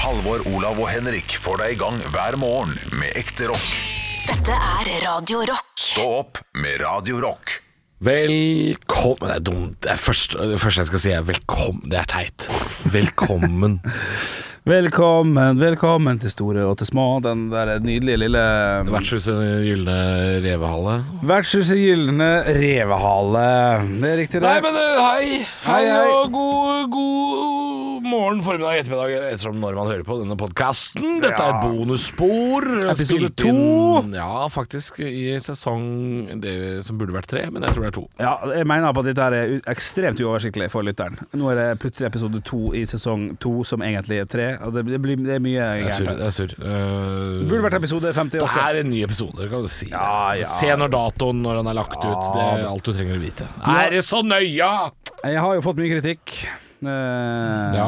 Halvor, Olav og Henrik får deg i gang hver morgen med ekte rock. Dette er Radio Rock. Stå opp med Radio Rock. Velkommen Det er dumt. Det, er først, det første jeg skal si, er velkommen. Det er teit. Velkommen. Velkommen, velkommen til store og til små. Den der nydelige lille Vertshuset Gylne revehale. Vertshuset Gylne Revehale. Det er riktig, det. Nei, men eh, hei. Hei, Hei, hei. og god, god morgen, formiddag, ettermiddag, ettersom når man hører på denne podkasten. Dette er et bonusspor. Episode Spilt inn- Ja, faktisk i sesong det som burde vært tre, men jeg tror det er to. Ja, jeg mener på at dette her er u- ekstremt uoversiktlig for lytteren. Nå er det plutselig episode to i sesong to, som egentlig er tre. Og det, det, blir, det er mye Jeg er sur. gærent. her. Jeg er sur. Eh, Det burde vært episode 58. det er en ny episode, kan du si. Ja, ja. Se når datoen når den er lagt ut. Det er alt du trenger å vite. Er det så nøya?! Jeg har jo fått mye kritikk. Eh, Ja.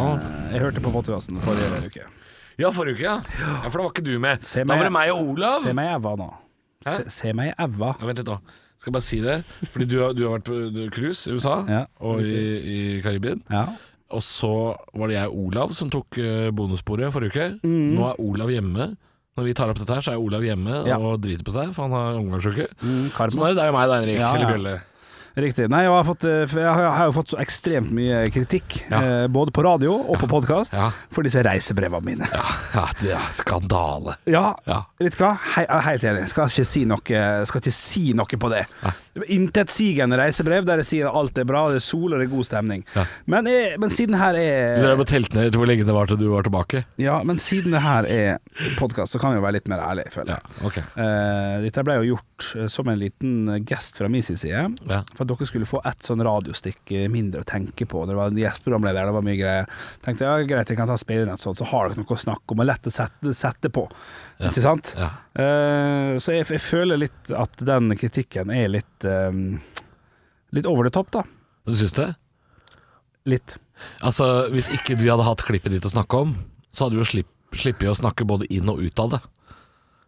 Jeg hørte på podkasten forrige uke. Ja, forrige uke, ja. ja. For da var ikke du med. Se Da meg- var det meg og Olav. Se meg i æva nå. Se, se meg i æva. Ja, vent litt, da. Skal jeg bare si det. Fordi du har, du har vært på du- cruise i USA Ja, og i, i Karibien. Ja. Og så var det jeg og Olav som tok eh, bonussporet forrige uke. Mm. Nå er Olav hjemme. Når vi tar opp dette her, så er Olav hjemme Ja. og driter på seg, for han har omgangsuke. Mm, Så karma. nå er det deg og meg, da, Henrik. Ja, Eller ja. Bjelle. Riktig. Nei, jeg har, fått, eh, for jeg har- jeg har jo fått så ekstremt mye kritikk, Ja. eh, både på radio og på podkast, Ja. for disse reisebrevene mine. Ja, ja, det er skandale. Ja, Ja. vet du hva? Hei, jeg er helt enig. Skal ikke si noe, skal ikke si noe på det. Intetsigende reisebrev der jeg sier alt er bra, det er sol og det er god stemning. Ja. Men, jeg, men siden her Du er drev og telte ned hvor lenge det var til du var tilbake? Ja, men siden det her er podkast, så kan vi jo være litt mer ærlige, føler jeg. ok. Eh, dette ble jo gjort eh, som en liten gest fra min sin side. Ja. For at dere skulle få ett sånn radiostikk eh, mindre å tenke på. Det var en gjestprogramleder, det var mye greier. Tenkte ja, greit, jeg kan ta spille inn et sånt, så har dere noe å snakke om og lett å sette, sette på. Ikke sant? Ja. Eh, så jeg, jeg føler litt at den kritikken er litt eh, Litt over the top, da. Du syns det? Litt. Altså, Hvis ikke vi hadde hatt klippet ditt å snakke om, så hadde vi jo slipp, slippet å snakke både inn og ut av det.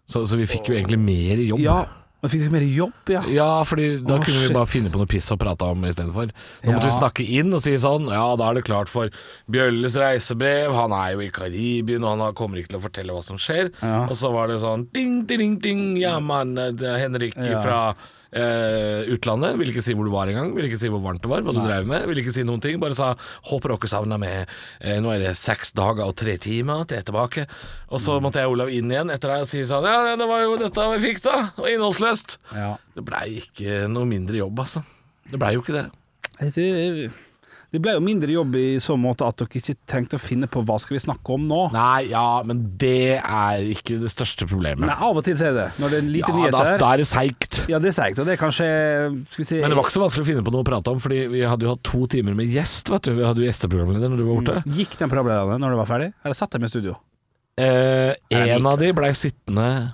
Så, så vi fikk jo egentlig mer jobb. Ja. Men fikk dere mer jobb, ja? Ja, fordi da Å, kunne vi shit. bare finne på noe piss å prate om istedenfor. Nå måtte Ja. vi snakke inn og si sånn Ja, da er det klart for Bjølles reisebrev, han er jo i Karibien, og han har- kommer ikke til å fortelle hva som skjer. Ja. Og så var det sånn ding, ding, ding, ja mann, eh, det er Henrik Ja. fra eh, utlandet. Ville ikke si hvor du var engang, ville ikke si hvor varmt det var, hva du drev med. Ville ikke si noen ting, bare sa 'håper dere savna meg'. Eh, nå er det seks dager og tre timer til jeg er tilbake. Og Mm. så måtte jeg og Olav inn igjen etter deg og si sånn 'ja, det var jo dette vi fikk, da'. Og innholdsløst. ja. Det blei ikke noe mindre jobb, altså. Det blei jo ikke det. Jeg tror- eh, Det ble jo mindre jobb i så måte at dere ikke trengte å finne på hva skal vi snakke om nå. Nei, Nei, ja, men det er ikke det største problemet. Av og til så er det Når det er lite ja, da, nyheter. da er det seigt. Ja, det er seigt, og det er kanskje eh, Skal vi si Men det var ikke så vanskelig å finne på noe å prate om, Fordi vi hadde jo hatt to timer med gjest. Vet du. Vi hadde jo gjesteprogramleder når du var borte. Gikk den programlederen når det var ferdig? Eller satt de i studio? Eh, Nei, en litt. av de blei sittende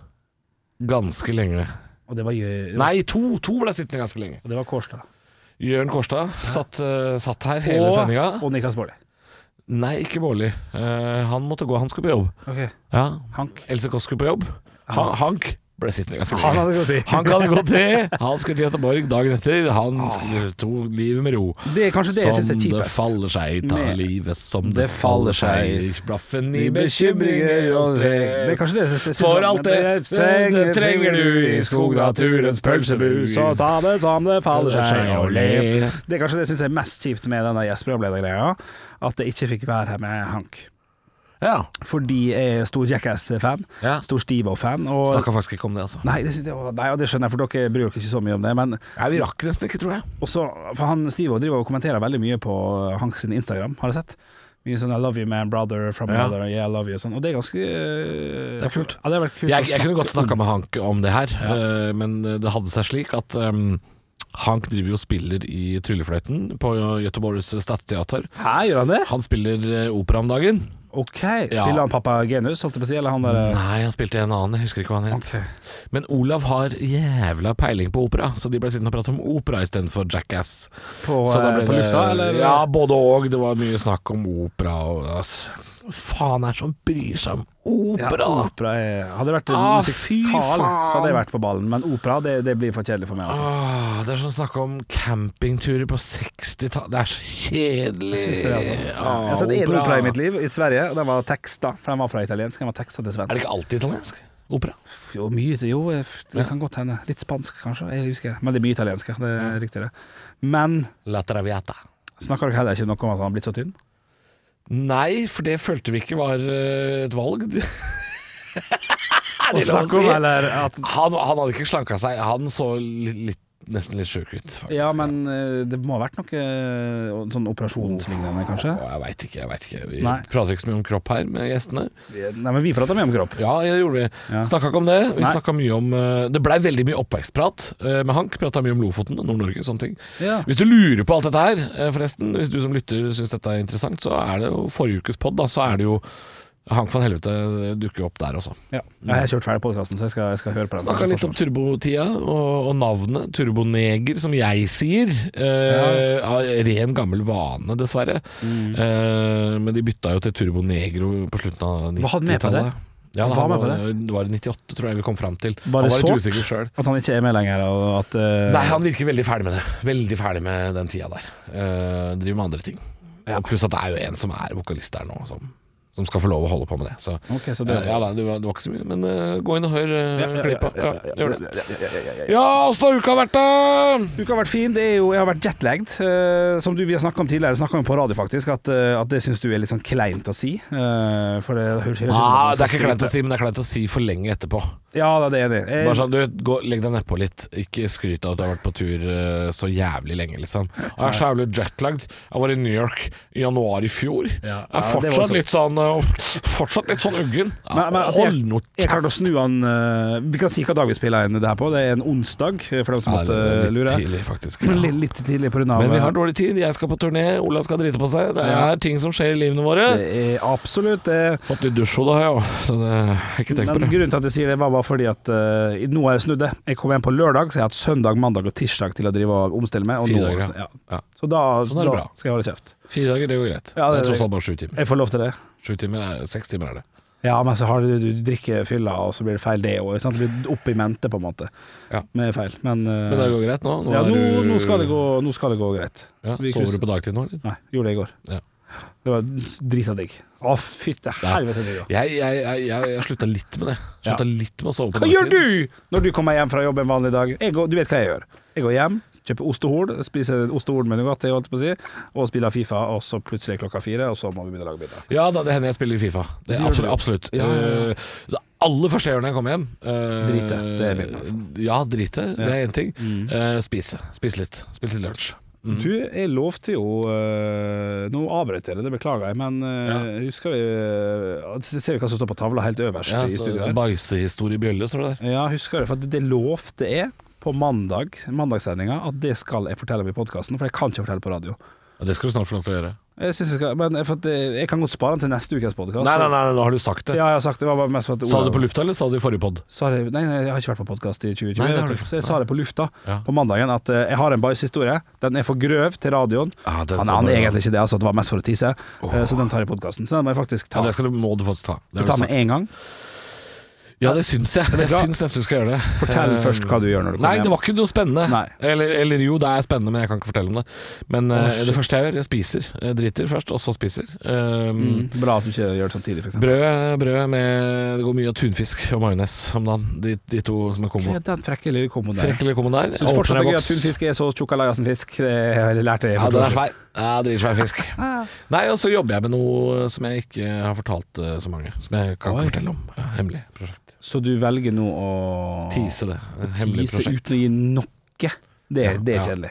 ganske lenge. Og det var, Jø- Nei, to, to blei sittende ganske lenge. og det var Kårstad. Jørn Kårstad satt, eh, satt her hele og, sendinga. Og Niklas Baarli. Nei, ikke Bårli. Eh, han måtte gå, han skulle på jobb. Ja, Hank. Else Kåss skulle på jobb. Han, Hank ble sittende ganske Han lenge. hadde gått i. Han kan det godt til. Han skulle til Göteborg dagen etter. Han skulle to livet med ro. Det er kanskje det jeg som syns er det kjipest. faller seg, ta Med- livet som Det det faller faller seg. Blaffen i bekymringer og Det er strek. kanskje det jeg syns For alt det- det trenger du i skognaturens pølsebu. Så ta det som det faller Faller seg, seg og og lev. le. Det er kanskje det jeg syns er mest kjipt med denne gjesteprogramledergreia, at jeg ikke fikk være her med Hank. Ja. Fordi jeg er stor Jackass-fan. Ja. Stor Stivo-fan. Og Snakka faktisk ikke om det, altså. Nei, det, synes jeg var- nei, og det skjønner jeg, for dere bryr dere ikke så mye om det. Men Nei, vi rakk nesten ikke, tror jeg. også, for han Stivo driver og kommenterer veldig mye på eh, Hank sin Instagram, har du sett? Mye sånn 'I love you, man, brother from Ja. another', 'yeah, I love you' og sånn. Og det er ganske øh, Det er kult. Ja, det er veldig kult Jeg, å jeg kunne godt snakke snakka med Hank om det her, eh, men det hadde seg slik at eh, Hank driver jo og spiller i Tryllefløyten på Göteborgs Stadsteater. om. Hæ, gjør han det? Han spiller eh, opera om dagen. Ok, Spiller han pappa Genus, holdt jeg på å si, eller han der eh, Nei, han spilte en annen, jeg husker ikke hva han het. Ok. Men Olav har jævla peiling på opera, så de ble sittende og prate om opera istedenfor Jackass. på, så da eh, ble på det- lufta, eller? Ja, både og. Det var mye snakk om opera og ass. faen er det som bryr seg om Ja, opera? opera er, hadde det vært Ah, fy musikal, faen. Ah, så hadde jeg vært på ballen. Men opera, det, det blir for kjedelig for meg. Altså. Åh, det er som å snakke om campingturer på 60-tallet. Det er så kjedelig. Jeg synes det, altså. Ja. Åh, Jeg har sett én opera. opera i mitt liv, i Sverige. og Den var teksta, for den var fra italiensk. Den var teksta til Er det svensk. ikke alltid italiensk? Opera? Jo, mye til- Jo, det kan godt hende. Litt spansk, kanskje. Jeg husker Men det er mye italiensk, ja. det er riktig, det. Men La Traviata. snakker dere heller ikke noe om at han har blitt så tynn? Nei, for det følte vi ikke var eh, et valg. Det er Og det lov å snakker om, si. eller at Han, han hadde ikke slanka seg. Han så litt, litt, nesten litt sjuk ut, faktisk. Ja, men eh, det må ha vært noe eh, sånn operasjonslignende, kanskje? Åh, jeg veit ikke, jeg veit ikke. Vi Nei. prater ikke så mye om kropp her med gjestene. Nei, men vi prater mye om kropp. Ja, det gjorde vi. Ja. Snakka ikke om det. Vi Nei. snakka mye om eh, Det blei veldig mye oppvekstprat eh, med Hank. Prata mye om Lofoten, Nord-Norge, sånne ting. Ja. Hvis du lurer på alt dette her, eh, forresten, hvis du som lytter syns dette er interessant, så er det jo forrige ukes pod, da, så er det jo Hank van Helvete dukker opp der også. Ja. Jeg har kjørt ferdig podkasten, så jeg skal, jeg skal høre på den. Snakka litt om turbotida og, og navnet. Turboneger, som jeg sier. Eh, av Ren gammel vane, dessverre. Mm. Eh, men de bytta jo til turbonegro på slutten av 90-tallet. Var han med på det? Ja, Han han, var med på var, det var i 98, tror jeg vi kom fram til. Var det han var litt sårt? usikker sjøl. At han ikke er med lenger, og at eh, Nei, han virker veldig ferdig med det. Veldig ferdig med den tida der. Eh, driver med andre ting. Og Pluss at det er jo en som er vokalist der nå, som, som skal få lov å holde på med det. Så, Ok, så det- Eh, ja, da, det, var, det var ikke så mye, men eh, gå inn og hør eh, klippet. Ja, gjør det. ja, ja, ja, ja, ja. Ja, åssen har uka vært, da? Uka har vært fin. Det er jo, jeg har vært jetlagd. eh, som du, vi har snakka om tidligere, snakka om på radio faktisk, at, eh, at det syns du er litt sånn kleint å si. eh, for det høres høres ut som Ah, at man det skal er ikke kleint skryte. å si, men det er kleint å si for lenge etterpå. Ja, da, det er det. Eh, Bare sånn, du, gå, Legg deg nedpå litt. Ikke skryt av at du har vært på tur eh, så jævlig lenge, liksom. Jeg er så jævlig jetlagd. Jeg var i New York i januar i fjor. Ja, Jeg er ja, det var fortsatt så- litt sånn eh, Fortsatt litt sånn uggen. Ja, Men, men, at jeg, Hold nå jeg klarte å kjeft. snu han eh, Vi kan si hva dag vi spiller inn det her på. Det er en onsdag, eh, for dem som Ja, det måtte er eh, lure. litt tidlig, faktisk. Men Ja. Litt, litt tidlig pga. Men vi har dårlig tid. Jeg skal på turné, Olav skal drite på seg. Det er ting som skjer i livene våre. Det er absolutt det. Fått litt dusj, da, jeg òg, så det, jeg har ikke tenkt på Men det. grunnen til at jeg sier det, var bare fordi at eh, nå har jeg snudd det. Jeg kom hjem på lørdag, så jeg har hatt søndag, mandag og tirsdag til å drive og omstille meg. Og Fire nå, dager, ja. ja. ja. Så da, Sånn er det da bra. skal jeg holde kjeft. Fire dager, det går greit. Ja, det, det- er tross alt bare sju timer. Jeg får lov til det. Sju timer er, Seks timer er det. Ja, men så har du, du drikker fylla, og så blir det feil det òg. Det blir opp i mente, på en måte, Ja. med feil. Men, eh, Men det går greit nå? ja, er nå, du- nå, skal det gå, nå skal det gå greit. Ja, Vi sover krysser- du på dagtid nå, eller? Nei, gjorde det i går. Ja. Det var drita digg. Å, fytte helvete. digg, da. Jeg, jeg, jeg, jeg, jeg slutta litt med det. Ja. Slutta litt med å sove på Hva dagtid. gjør du når du kommer hjem fra jobb en vanlig dag? Jeg går, du vet hva jeg gjør. Jeg går hjem, kjøper ostehorn, spiser ostehorn med Nugatti holdt jeg på å si, og spiller Fifa, og så plutselig er klokka fire, og så må vi begynne å lage middag. Ja, da, det hender jeg spiller i Fifa. Det er Det gjør absolutt. absolutt. Ja, ja, Eh, Det aller første jeg gjør når jeg kommer hjem eh, Drite. Det er min. Ja, drite. Det er én ting. Mm. Eh, spise. Spise litt. Spise litt lunsj. Du, jeg lovte jo øh, Nå avbrøt jeg det, det beklager jeg, men øh, husker vi øh, Ser vi hva som står på tavla helt øverst Ja, i studio? her? Bæsjehistorie i bjølle, står det der. Ja, husker det, for det lovte jeg på mandag, mandagssendinga, at det skal jeg fortelle om i podkasten, for jeg kan ikke fortelle på radio. Ja, det skal du snart få lov til å gjøre. Jeg, synes jeg, skal, men, for at, øh, jeg kan godt spare den til neste ukes podkast. Nei, nei, nei, nå har du sagt det. Ja, jeg har sagt det. det var bare mest for at Sa du det Olav- på lufta, eller sa du det i forrige pod? sa det, nei, nei, jeg har ikke vært på podkast i 2020, Nei, det har vet du du. ikke. så jeg sa det på lufta Ja. på mandagen. At eh, jeg har en bæsjhistorie. Den er for grøv til radioen. Ja, Ah, den- han han er egentlig ikke det, altså, det var mest for å tisse. Eh, så den tar jeg i podkasten. Så den må jeg faktisk Ja, ta. det skal du, må du faktisk ta. Det har Skal ta du med sagt. en gang. Ja, det syns jeg. Jeg bra. syns nesten du skal gjøre det. Fortell Eh, først hva du gjør når du Nei, det kommer hjem. var ikke noe spennende. Nei. Eller, eller jo, det er spennende, men jeg kan ikke fortelle om det. Men eh, shit. det første jeg gjør, jeg spiser. Jeg driter først, og så spiser. Um, Mm, Bra at du ikke gjør det samtidig, f.eks. Brød, brød med Det går mye av tunfisk og majones om dagen. De, de to som er kombo. Den frekke lille komboen der. Frekk eller kombo der. Syns Åpner fortsatt det er en gøy at boks. tunfisk er så tjukk av leia som fisk. Det har jeg lært det. Ja, den er svær. Ja, Dritsvær fisk. Nei, og så jobber jeg med noe som jeg ikke har fortalt eh, så mange. Som jeg kan Oi. ikke fortelle om. Ja, hemmelig prosjekt. Så du velger nå å Tise det. Hemmelig tise prosjekt. uten å gi noe. Det, Ja, det er ja. kjedelig.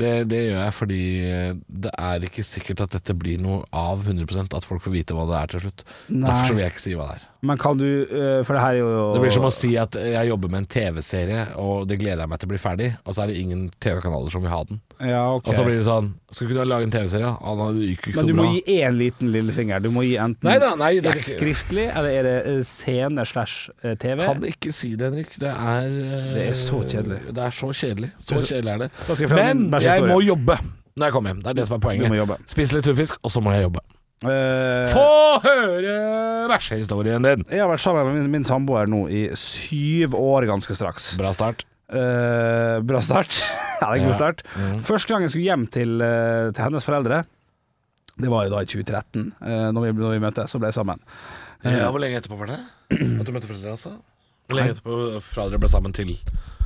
Det, det gjør jeg fordi eh, det er ikke sikkert at dette blir noe av 100 at folk får vite hva det er til slutt. Nei. Derfor så vil jeg ikke si hva det er. Men kan du øh, For det her er jo Det blir som å si at jeg jobber med en TV-serie, og det gleder jeg meg til å bli ferdig, og så er det ingen TV-kanaler som vil ha den. ja, ok. Og så blir det sånn Skal ikke du ha laget en TV-serie? Ah, nei, det gikk ikke Men så du bra. må gi én liten lillefinger. Du må gi enten Nei da, nei, det er er det ikke- skriftlig, eller er det eh, scene slash eh, TV? Kan ikke si det, Henrik. Det er eh, Det er så kjedelig. Det er så kjedelig. Så Det er så- kjedelig er det. Da skal jeg fortelle Men min bæsjehistorie. jeg må jobbe når jeg kommer hjem. Det er det som er Du må poenget. jobbe. Spise litt tunfisk, og så må jeg jobbe. Eh, Få høre bæsjehistorien din! jeg har vært sammen med min, min samboer nå i syv år ganske straks. Bra start. Eh, bra start. ja, det er en Ja. Mm. god start. Første gang jeg skulle hjem til, eh, til hennes foreldre, det var jo da i 2013, uh, når, vi, når vi møttes og ble sammen. Ja, Hvor lenge etterpå var det? At du møtte foreldrene, altså? Hvor lenge etterpå fra dere ble sammen til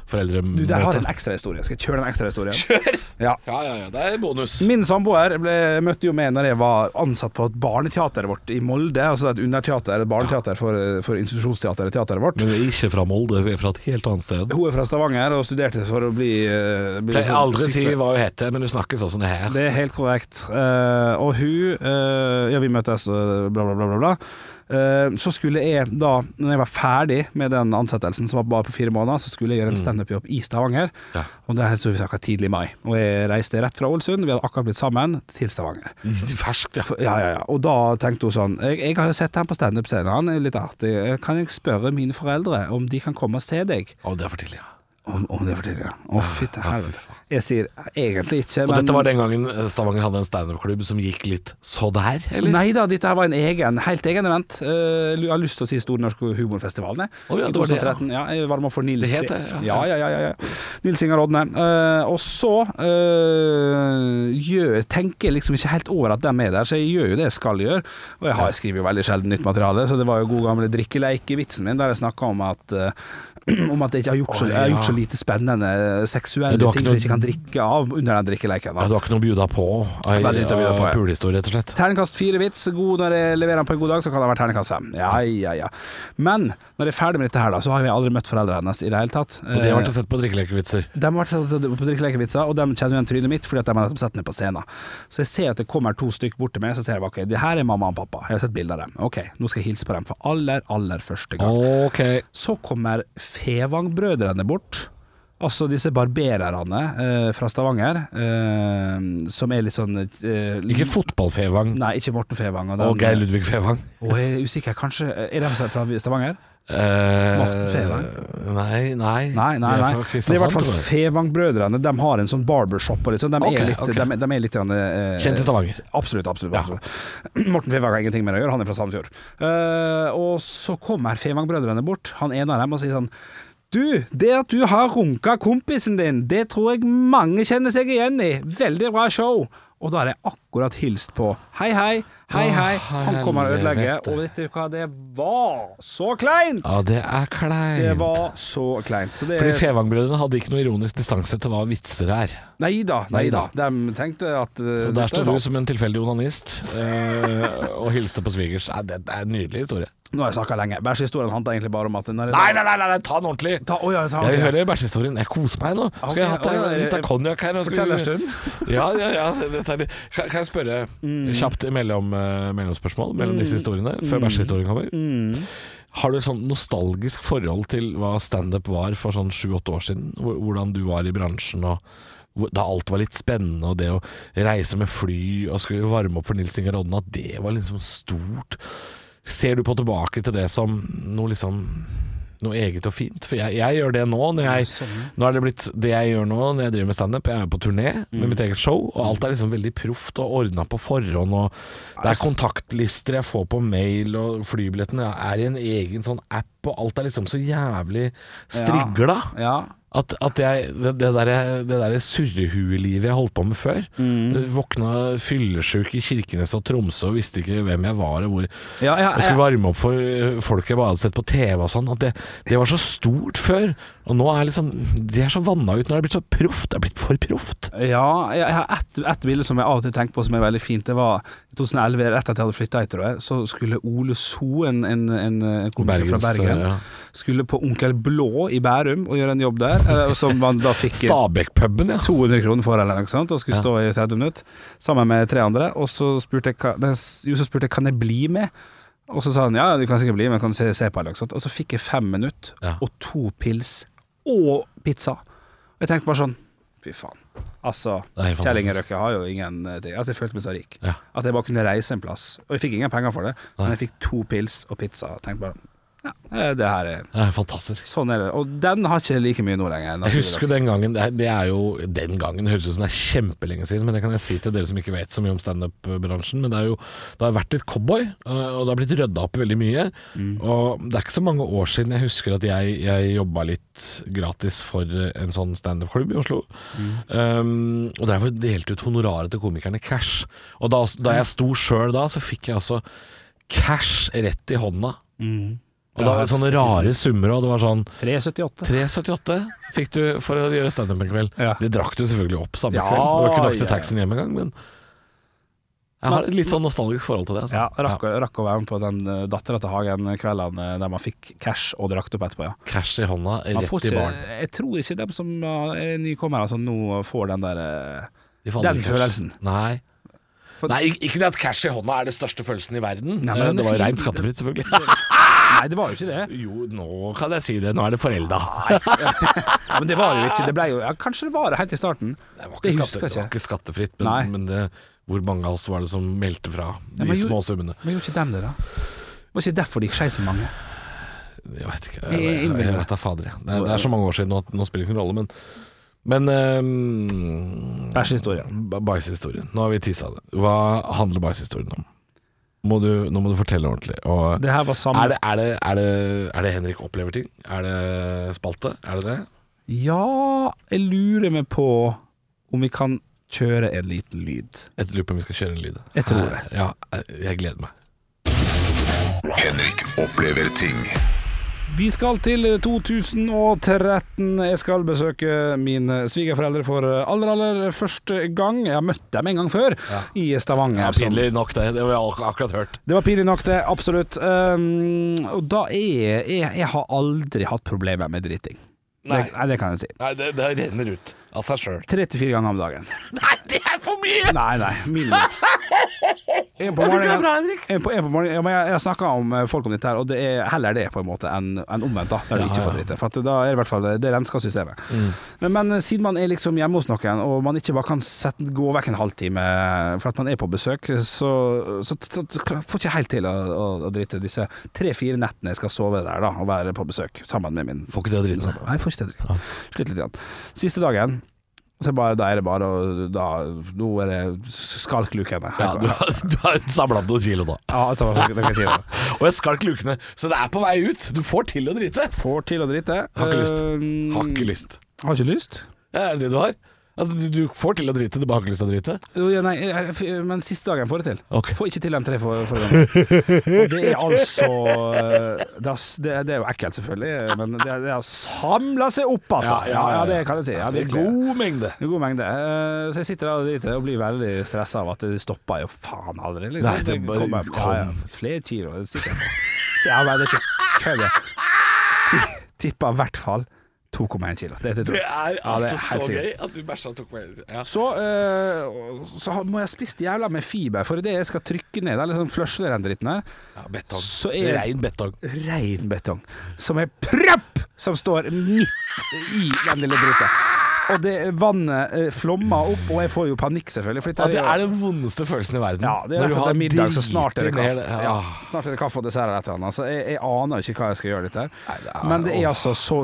Du, der har jeg en foreldremøtet? ekstra historie. Skal jeg kjøre den ekstra historien? Kjør! Ja. Ja, ja, ja. Det er bonus. Min samboer ble, møtte jo meg når jeg var ansatt på et barneteater vårt i Molde. Altså et underteater, et barneteater for, for institusjonsteateret, teateret vårt. Men vi er ikke fra Molde, vi er fra et helt annet sted. Hun er fra Stavanger og studerte for å bli, eh, bli Pleier aldri å si sykepleier. hva hun heter, men hun snakker sånn som det her. Det er helt korrekt. Eh, og hun eh, Ja, vi møttes og bla, bla, bla, bla. bla. Eh, så skulle jeg da, når jeg var ferdig med den ansettelsen som var bare på fire måneder, så skulle jeg gjøre en standup-jobb i Stavanger. Mm. Ja. Og det er så vi snakka tidlig i mai. Og jeg reiste rett fra Ålesund, vi hadde akkurat blitt sammen, til Stavanger. Ferskt, ja. Ja, ja, ja. Og da tenkte hun sånn Jeg, jeg har jo sett ham på standup-scenen, han er jo litt artig. Eh, Kan jeg spørre mine foreldre om de kan komme og se deg? Å, det er for tidlig, ja. Om, om det forteller jeg. Å, fytti helvete. Jeg sier eh, egentlig ikke, Og men dette var den gangen eh, Stavanger hadde en standup-klubb som gikk litt så der, eller? Nei da, dette her var en egen, helt egen event. Eh, jeg har lyst til å si Stor norsk humorfestival. nei. Å ja, I det var det, 2013. Ja. jeg var med for Nils Det het det, ja. Ja, ja, ja, ja, ja. Nils Ingar Odne. Eh, og så eh, gjør, tenker jeg liksom ikke helt over at de er der, så jeg gjør jo det jeg skal gjøre. Og jeg, har, jeg skriver jo veldig sjelden nytt materiale, så det var jo god gamle drikkeleik-vitsen min, der jeg snakka om at eh, om at jeg ikke har gjort så, Å, jeg har gjort ja. så lite spennende seksuelle Ja, du har ikke ting som jeg noe- ikke kan drikke av under den drikkeleiken. da. Ja, du har ikke noe å bjuda på? Ei Veldig lite å bjuda på, ja. pulehistorie, rett og slett? Terningkast fire vits. God når jeg leverer den på en god dag, så kan det være terningkast fem. Ja, ja, ja. Men når jeg er ferdig med dette her, da, så har vi aldri møtt foreldrene hennes i det hele tatt. Eh, Og de har vært og sett på drikkelekevitser. De har vært på drikkelekevitser, og de kjenner igjen trynet mitt fordi at de har nettopp sett meg på scenen. Så jeg ser at det kommer to stykker bort til meg, så ser jeg ok, det her er mamma og pappa. Jeg har sett bilder av dem. Ok, nå skal jeg hilse på dem for aller, aller første gang. Ok. Så kommer Fevang-brødrene bort. Altså disse barbererne eh, fra Stavanger, eh, som er litt sånn eh, Ikke fotball-Fevang Nei, ikke Morten Fevang. Og, den, og Geir Ludvig Fevang. Og jeg er usikker, kanskje eh, Er de fra Stavanger? Eh, Morten Fevang? Nei, nei. Nei, nei, De nei. er fra Det er i hvert Kristiansand, fall tror jeg. Fevang-brødrene. De har en sånn barbershop og litt sånn. De Ok, er litt, ok. de, er- de er litt grann, eh, Kjent i Stavanger. Absolutt, absolutt. Ja. absolutt. Morten Fevang har ingenting med det å gjøre, han er fra Sandefjord. Eh, og så kommer Fevang-brødrene bort, han ene av dem, og sier sånn du, det at du har runka kompisen din, det tror jeg mange kjenner seg igjen i. Veldig bra show. Og da har jeg akkurat hilst på. Hei, hei, hei, hei. Han kommer og ødelegger. helvete. Og vet du hva, det var så kleint! Ja, det er kleint. Det var eh, så kleint. Så det Fordi Fevang-brødrene hadde ikke noe ironisk distanse til hva vitser er. Nei da, nei da. Neida. De tenkte at uh, Så dette der står er du sant. som en tilfeldig onanist eh, og hilste på svigers. Nei, det er en nydelig historie. Nå har jeg snakka lenge. Bæsjehistorien handler egentlig bare om at når jeg- Nei, nei, nei, nei, nei ta den ordentlig! Ta, å, ja, ta, Jeg vil høre bæsjehistorien. Jeg koser meg nå. Skal jeg ha Ok, ja, ta- ja, litt jeg- av konjakk her? og skal Fortell vi- en stund. Mm. Ja, ja, ja. dette er litt- Kan kan jeg spørre kjapt i mellom, eh, mellomspørsmål mellom disse historiene, før bæsjehistorien kommer? Mm. Har du et sånn nostalgisk forhold til hva standup var for sånn sju-åtte år siden? Hvor- Hvordan du var i bransjen og hvor- da alt var litt spennende, og det å reise med fly og skulle varme opp for Nils Ingar Odden, at det var liksom stort. Ser du på tilbake til det som noe liksom noe eget og fint? For jeg, jeg gjør det nå. Når jeg, nå er det blitt det jeg gjør nå når jeg driver med standup. Jeg er på turné med mitt eget show, og alt er liksom veldig proft og ordna på forhånd. Og det er kontaktlister jeg får på mail, og flybillettene er i en egen sånn app, og alt er liksom så jævlig strigla. Ja. At, at jeg, det, det der, det der surrehuelivet jeg holdt på med før Mm. Våkna fyllesjuk i Kirkenes og Tromsø og visste ikke hvem jeg var og hvor Ja, ja, Jeg skulle ja. varme opp for eh, folk jeg bare hadde sett på TV og sånn. At det, det var så stort før. Og nå er liksom Det er så vanna ut. Nå er det blitt så proft. Det er blitt for proft. Ja, jeg jeg har ett et bilde som jeg av og til tenker på som er veldig fint. Det var i 2011, rett etter at jeg hadde flytta hit, tror jeg, så skulle Ole So, en, en, en, en komiker fra Bergens, Bergen, ja. skulle på Onkel Blå i Bærum og gjøre en jobb der, eh, som man da fikk Stabekk-puben, ja. 200 kroner for eller noe sånt, og skulle stå i 30 minutter sammen med tre andre. Og så spurte jeg, hva- nei, jo, så spurte jeg kan jeg bli med. Og så sa han ja, du kan sikkert bli med, kan du se, se på eller noe sånt. Og så fikk jeg fem minutter Ja. og to pils og pizza. Og jeg tenkte bare sånn fy faen. Altså, Det er helt Kjell Inge fantastisk. Røkke har jo ingen eh, ting. Altså, jeg følte meg så rik. Ja. At jeg bare kunne reise en plass. Og jeg fikk ingen penger for det, men jeg fikk to pils og pizza. Og tenkte bare Eh, Det her er Det er fantastisk. Sånn er det. Og den har ikke like mye nå lenger. Jeg husker den gangen Det er, det er jo den gangen, det høres ut som det er kjempelenge siden, men det kan jeg si til dere som ikke vet så mye om standup-bransjen. Men det, er jo, det har vært litt cowboy, øh, og det har blitt rydda opp i veldig mye. Og det er ikke så mange år siden jeg husker at jeg, jeg jobba litt gratis for øh, en sånn standup-klubb i Oslo. Um, og der var delte ut honoraret til komikerne cash. Og da, da jeg sto sjøl da, så fikk jeg altså cash rett i hånda. Mm. Og da var det sånne rare summer, og det var sånn 378. 3,78 fikk du for å gjøre standup en kveld. Ja. Det drakk du selvfølgelig opp samme Ja, kveld. Det var ikke nok ja, til ja. taxien hjem engang, men jeg har et litt sånn nostalgisk forhold til det. Altså. Ja, rakk, rakk å være med på den eh, dattera til Hagen kveldene der man fikk cash og drakk det opp etterpå, ja. Cash i hånda, Man rett får i ikke, baren. jeg tror ikke dem som eh, er nykommere som nå får den der eh, De får Den aldri cash. følelsen. Nei. For- Nei, ik- ikke det at cash i hånda er den største følelsen i verden. Nei, men Eh, den er det var jo fin. rent skattefritt, selvfølgelig. Nei, det var jo ikke det. Jo, nå kan jeg si det. Nå er det forelda. Ja, men det var jo ikke det ble jo, ja, Kanskje det var det helt i starten. Det var ikke, Det skatte, husker det var jeg ikke. ikke skattefritt, Nei. men, men det, hvor mange av oss var det som meldte fra Ja, de men jo- små summene? Men gjorde ikke dem det, da? Var ikke derfor det gikk skeis med mange? Jeg vet ikke. Jeg Jeg, jeg, jeg, innbiller meg. vet da fader, jeg. Det er, det er så mange år siden, nå, nå spiller det ikke noen rolle, men Men um, Bæsjehistorien. Bæsjehistorien. Nå har vi tissa det. Hva handler bæsjehistorien om? Må du, nå må du fortelle ordentlig. Og Det her var er, samme det, er, det, er, det, er det Henrik opplever ting? Er det spalte? Er det det? Ja, jeg lurer meg på om vi kan kjøre en liten lyd. Jeg lurer på om vi skal kjøre en lyd. Jeg tror det. Ja, jeg, jeg gleder meg. Henrik opplever ting. Vi skal til 2013. Jeg skal besøke mine svigerforeldre for aller, aller første gang. Jeg har møtt dem en gang før, i Stavanger. Ja, som- pinlig nok, det. Det har jeg ak- akkurat hørt. Det var pinlig nok, det. Absolutt. Um, og da er jeg Jeg har aldri hatt problemer med driting. Nei. Det, nei, det kan jeg si. Nei, det, det renner ut av seg sjøl. 34 ganger om dagen. Nei, det er for mye! Nei, nei. Minimum. En på morgenen. En på, en på morgenen. Ja, men jeg, jeg har snakka om eh, folk om dette, her og det er heller det på en måte enn enn omvendt. da Der du Ja, Mm. ikke får ja. drite. For at da er det i hvert fall det rensker systemet. Men, men eh, siden man er liksom hjemme hos noen, og man ikke bare kan sette, gå vekk en halvtime eh, for at man er på besøk, så, så, så, så får ikke jeg helt til å, å, å drite disse tre-fire nettene jeg skal sove der da og være på besøk sammen med min Får ikke til å drite seg. Nei, jeg får ikke til å drikke. Slitt litt. Igjen. Siste dagen så er bare, da er det bare å- da, Nå er det skalklukene. Ja, du har, du har samla opp noen kilo da. Ja, altså, det kan jeg si det. Og jeg skalk lukene, så det er på vei ut. Du får til å drite. Får til å drite. Har ikke lyst. Eh, Har ikke lyst. Har ikke lyst? Det er det du har. Altså, du, du får til å drite, du bare har ikke lyst til å drite. Jo, ja, nei, jeg- jeg- men siste dagen får jeg til. Ok. Får ikke til de tre for, forrige gangene. Og det er altså eh, Det er, s- det er, det er jo ekkelt, selvfølgelig, men det, er- det har samla seg opp, altså. Ja, ja, det kan jeg si. Ja, det er virkelig. god mengde. Det er god mengde. Eh, Så jeg sitter der og driter og blir veldig stressa av at det stopper jo faen aldri. Liksom. Nei, det bare kommer- kom. Ja, ja, flere kilo, det er sikkert. Så jeg vet ikke kødd. jeg. Ti- Tipper i hvert fall 2,1 kilo. Det, det, tror jeg. Ja, det er altså helt sikkert. at du bæsja tok meg ja. Så, eh, så må jeg ha spist jævla med fiber, for idet jeg skal trykke ned eller sånn flushe den dritten her, ja, betong. Så er- Rein betong. rein betong, som er propp, som står midt i den lille dritten. Og det vannet eh, flommer opp, og jeg får jo panikk, selvfølgelig. For Ja, dette det jo- er den vondeste følelsen i verden. Ja, det er Når rett du har etter middag, så driti snart er det ned- kaffe. Ja. Ja. Snart er det kaffe og dessert eller et eller annet. Så jeg, jeg aner jo ikke hva jeg skal gjøre dette her. det er- Men det er altså så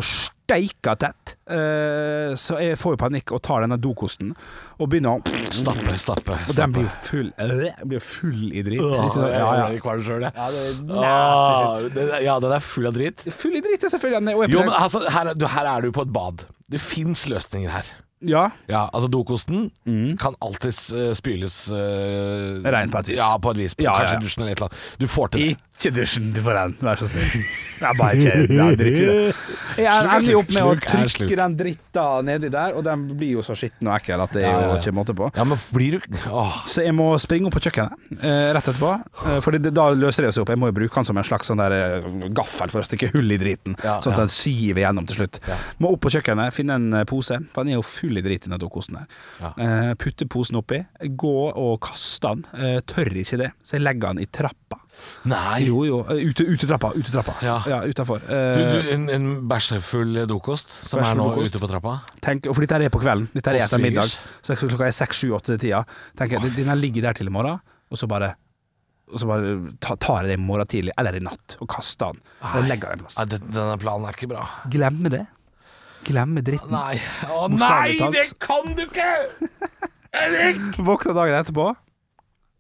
steika tett, eh, så jeg får jo panikk og tar denne dokosten og begynner å Stappe, stappe, Og den blir jo full, øh, blir jo full i dritt. Åh, jeg Ja, ble ja. kvalm selv, jeg. det er Åh, den er- Ja, den er full av dritt. Full i dritt, er selvfølgelig. Og jeg Jo, men prøver- altså, her, er- du, her er du på et bad. Det fins løsninger her. ja. Ja, altså dokosten kan alltids eh, spyles uh, Rent Mm. på et vis. Ja, på et vis. Ja, ja, Kanskje ja. i dusjen eller et eller annet. Du får til det. Ikke dusjen for den, vær så snill. Jeg bare ikke, jeg drikker det. Jeg Sluk er ender jo opp med å sluk. Sluk er sluk. trykke den dritta nedi der, og den blir jo så skitten og ekkel at det er Ja, ja, jo ja. ikke måte på. Ja, men blir du Åh. Så jeg må springe opp på kjøkkenet eh, rett etterpå. Eh, for det, da løser det seg opp. Jeg må jo bruke den som en slags sånn der, eh, gaffel for å stikke hull i driten, Ja, sånn ja. at den siver gjennom til slutt. Ja. Må opp på kjøkkenet, finne en eh, pose, for den er jo full i drit, den der dokosten her. Ja. Eh, putte posen oppi, gå og kaste den. Eh, tør ikke det, så jeg legger den i trappa. Nei. Jo, jo. eh, Ute, utetrappa. Utetrappa. Ja. utafor. Du, Eh, du, en, en bæsjefull eh, dokost som er Bæsjefull nå dokost. ute på trappa? tenk, og for dette her er på kvelden, dette her er Og etter middag, svigers. så klokka er seks, sju, åtte-tida. Tenker jeg, den her ligger der til i morgen, og så bare og så bare ta- tar jeg det i morgen tidlig, eller i natt, og kaster den. Og legger den en plass. Nei, det- denne planen er ikke bra. Glemme det. Glemme dritten. Nei, å Bokstavelig nei, talt. det kan du ikke! Erik! Våkner dagen etterpå,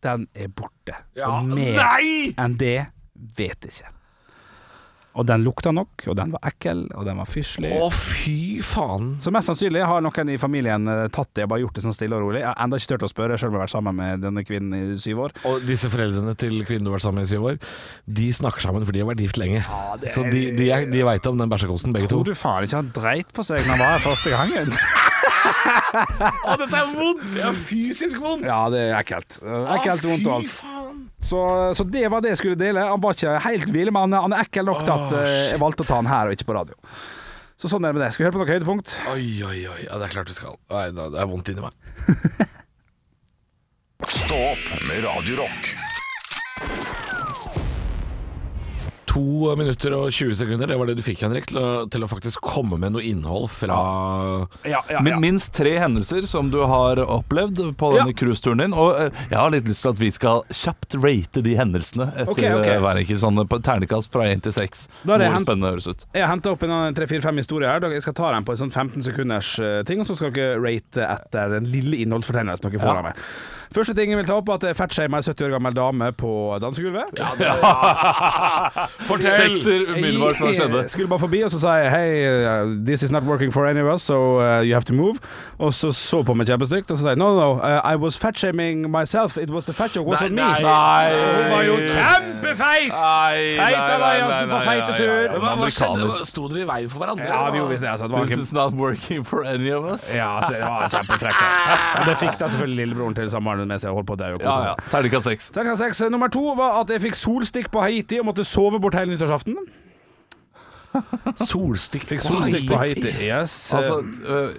den er borte. Ja, og mer nei! enn det vet jeg ikke. Og den lukta nok, og den var ekkel, og den var fyselig. Å, fy faen. Så mest sannsynlig har noen i familien eh, tatt det og bare gjort det sånn stille og rolig. Jeg har enda ikke turt å spørre, selv om jeg har vært sammen med denne kvinnen i syv år. Og disse foreldrene til kvinnen du har vært sammen med i syv år, de snakker sammen fordi de har vært gift lenge. det Så er- de, de, er- de veit om den bæsjekosten, begge to. Tror du faen ikke han dreit på seg når han var her første gangen? Å, dette er vondt! Det er fysisk vondt! ja, det er ekkelt. Eh, Ekkelt, vondt og alt. faen. Så, så det var det jeg skulle dele. Han var ikke helt vill, men han, han er ekkel nok til at eh, jeg valgte å ta han her og ikke på radio. Så sånn er det med det. Skal vi høre på noe høydepunkt? Oi, oi, oi. Ja, det er klart du skal. Nei, da, det er vondt inni meg. Stå opp med Radio Rock. To minutter og 20 sekunder, det var det du fikk, Henrik, til å, til å faktisk komme med noe innhold fra Ja, ja, Min, minst tre hendelser som du har opplevd på denne Ja. cruiseturen din. Og eh, jeg har litt lyst til at vi skal kjapt rate de hendelsene etter Ok, ok. eh, hver enkelt. Sånn på ternekast fra én til seks. Da er det Hvor hen- spennende det høres ut. Jeg har henta opp en annen 3-4-5 historier her. Jeg skal ta dem på en sånn 15 sekunders eh, ting, og så skal dere rate etter den lille innholdsfortegnelsen dere får av meg. Første ting jeg vil ta opp, er at jeg fatshama ei 70 år gammel dame på dansegulvet. Ja, det, ja. Fortell! Sekser umiddelbart hva skjedde. Jeg skulle bare forbi, og så sa jeg Hei, uh, this is not working for any of us, so uh, you have to move. Og så så på meg kjempestygt, og så sa jeg no, no, uh, I was fatshaming myself. It was the fat joke, was Nei, it me? nei. Hun var jo kjempefeit! Nei, nei, Feita nei, Eliassen nei, altså på nei, feitetur. nei, nei, Hva, nei. hva skjedde? Amerikaner. Sto dere i veien for hverandre? Ja, vi gjorde visst det. Altså, det var This ikke is not working for any of us. Ja, så det var kjempetrekk. altså. Og det fikk da selvfølgelig lillebroren til samboeren min med seg og holdt på å dø og Ja, kose seg. ja. Altså, Ternekast seks. Terningkast seks. eh, Nummer to var at jeg fikk solstikk på Haiti og måtte sove bort hele nyttårsaften. Solstikk. Fikk solstikk på Haiti. Yes. Altså, eh,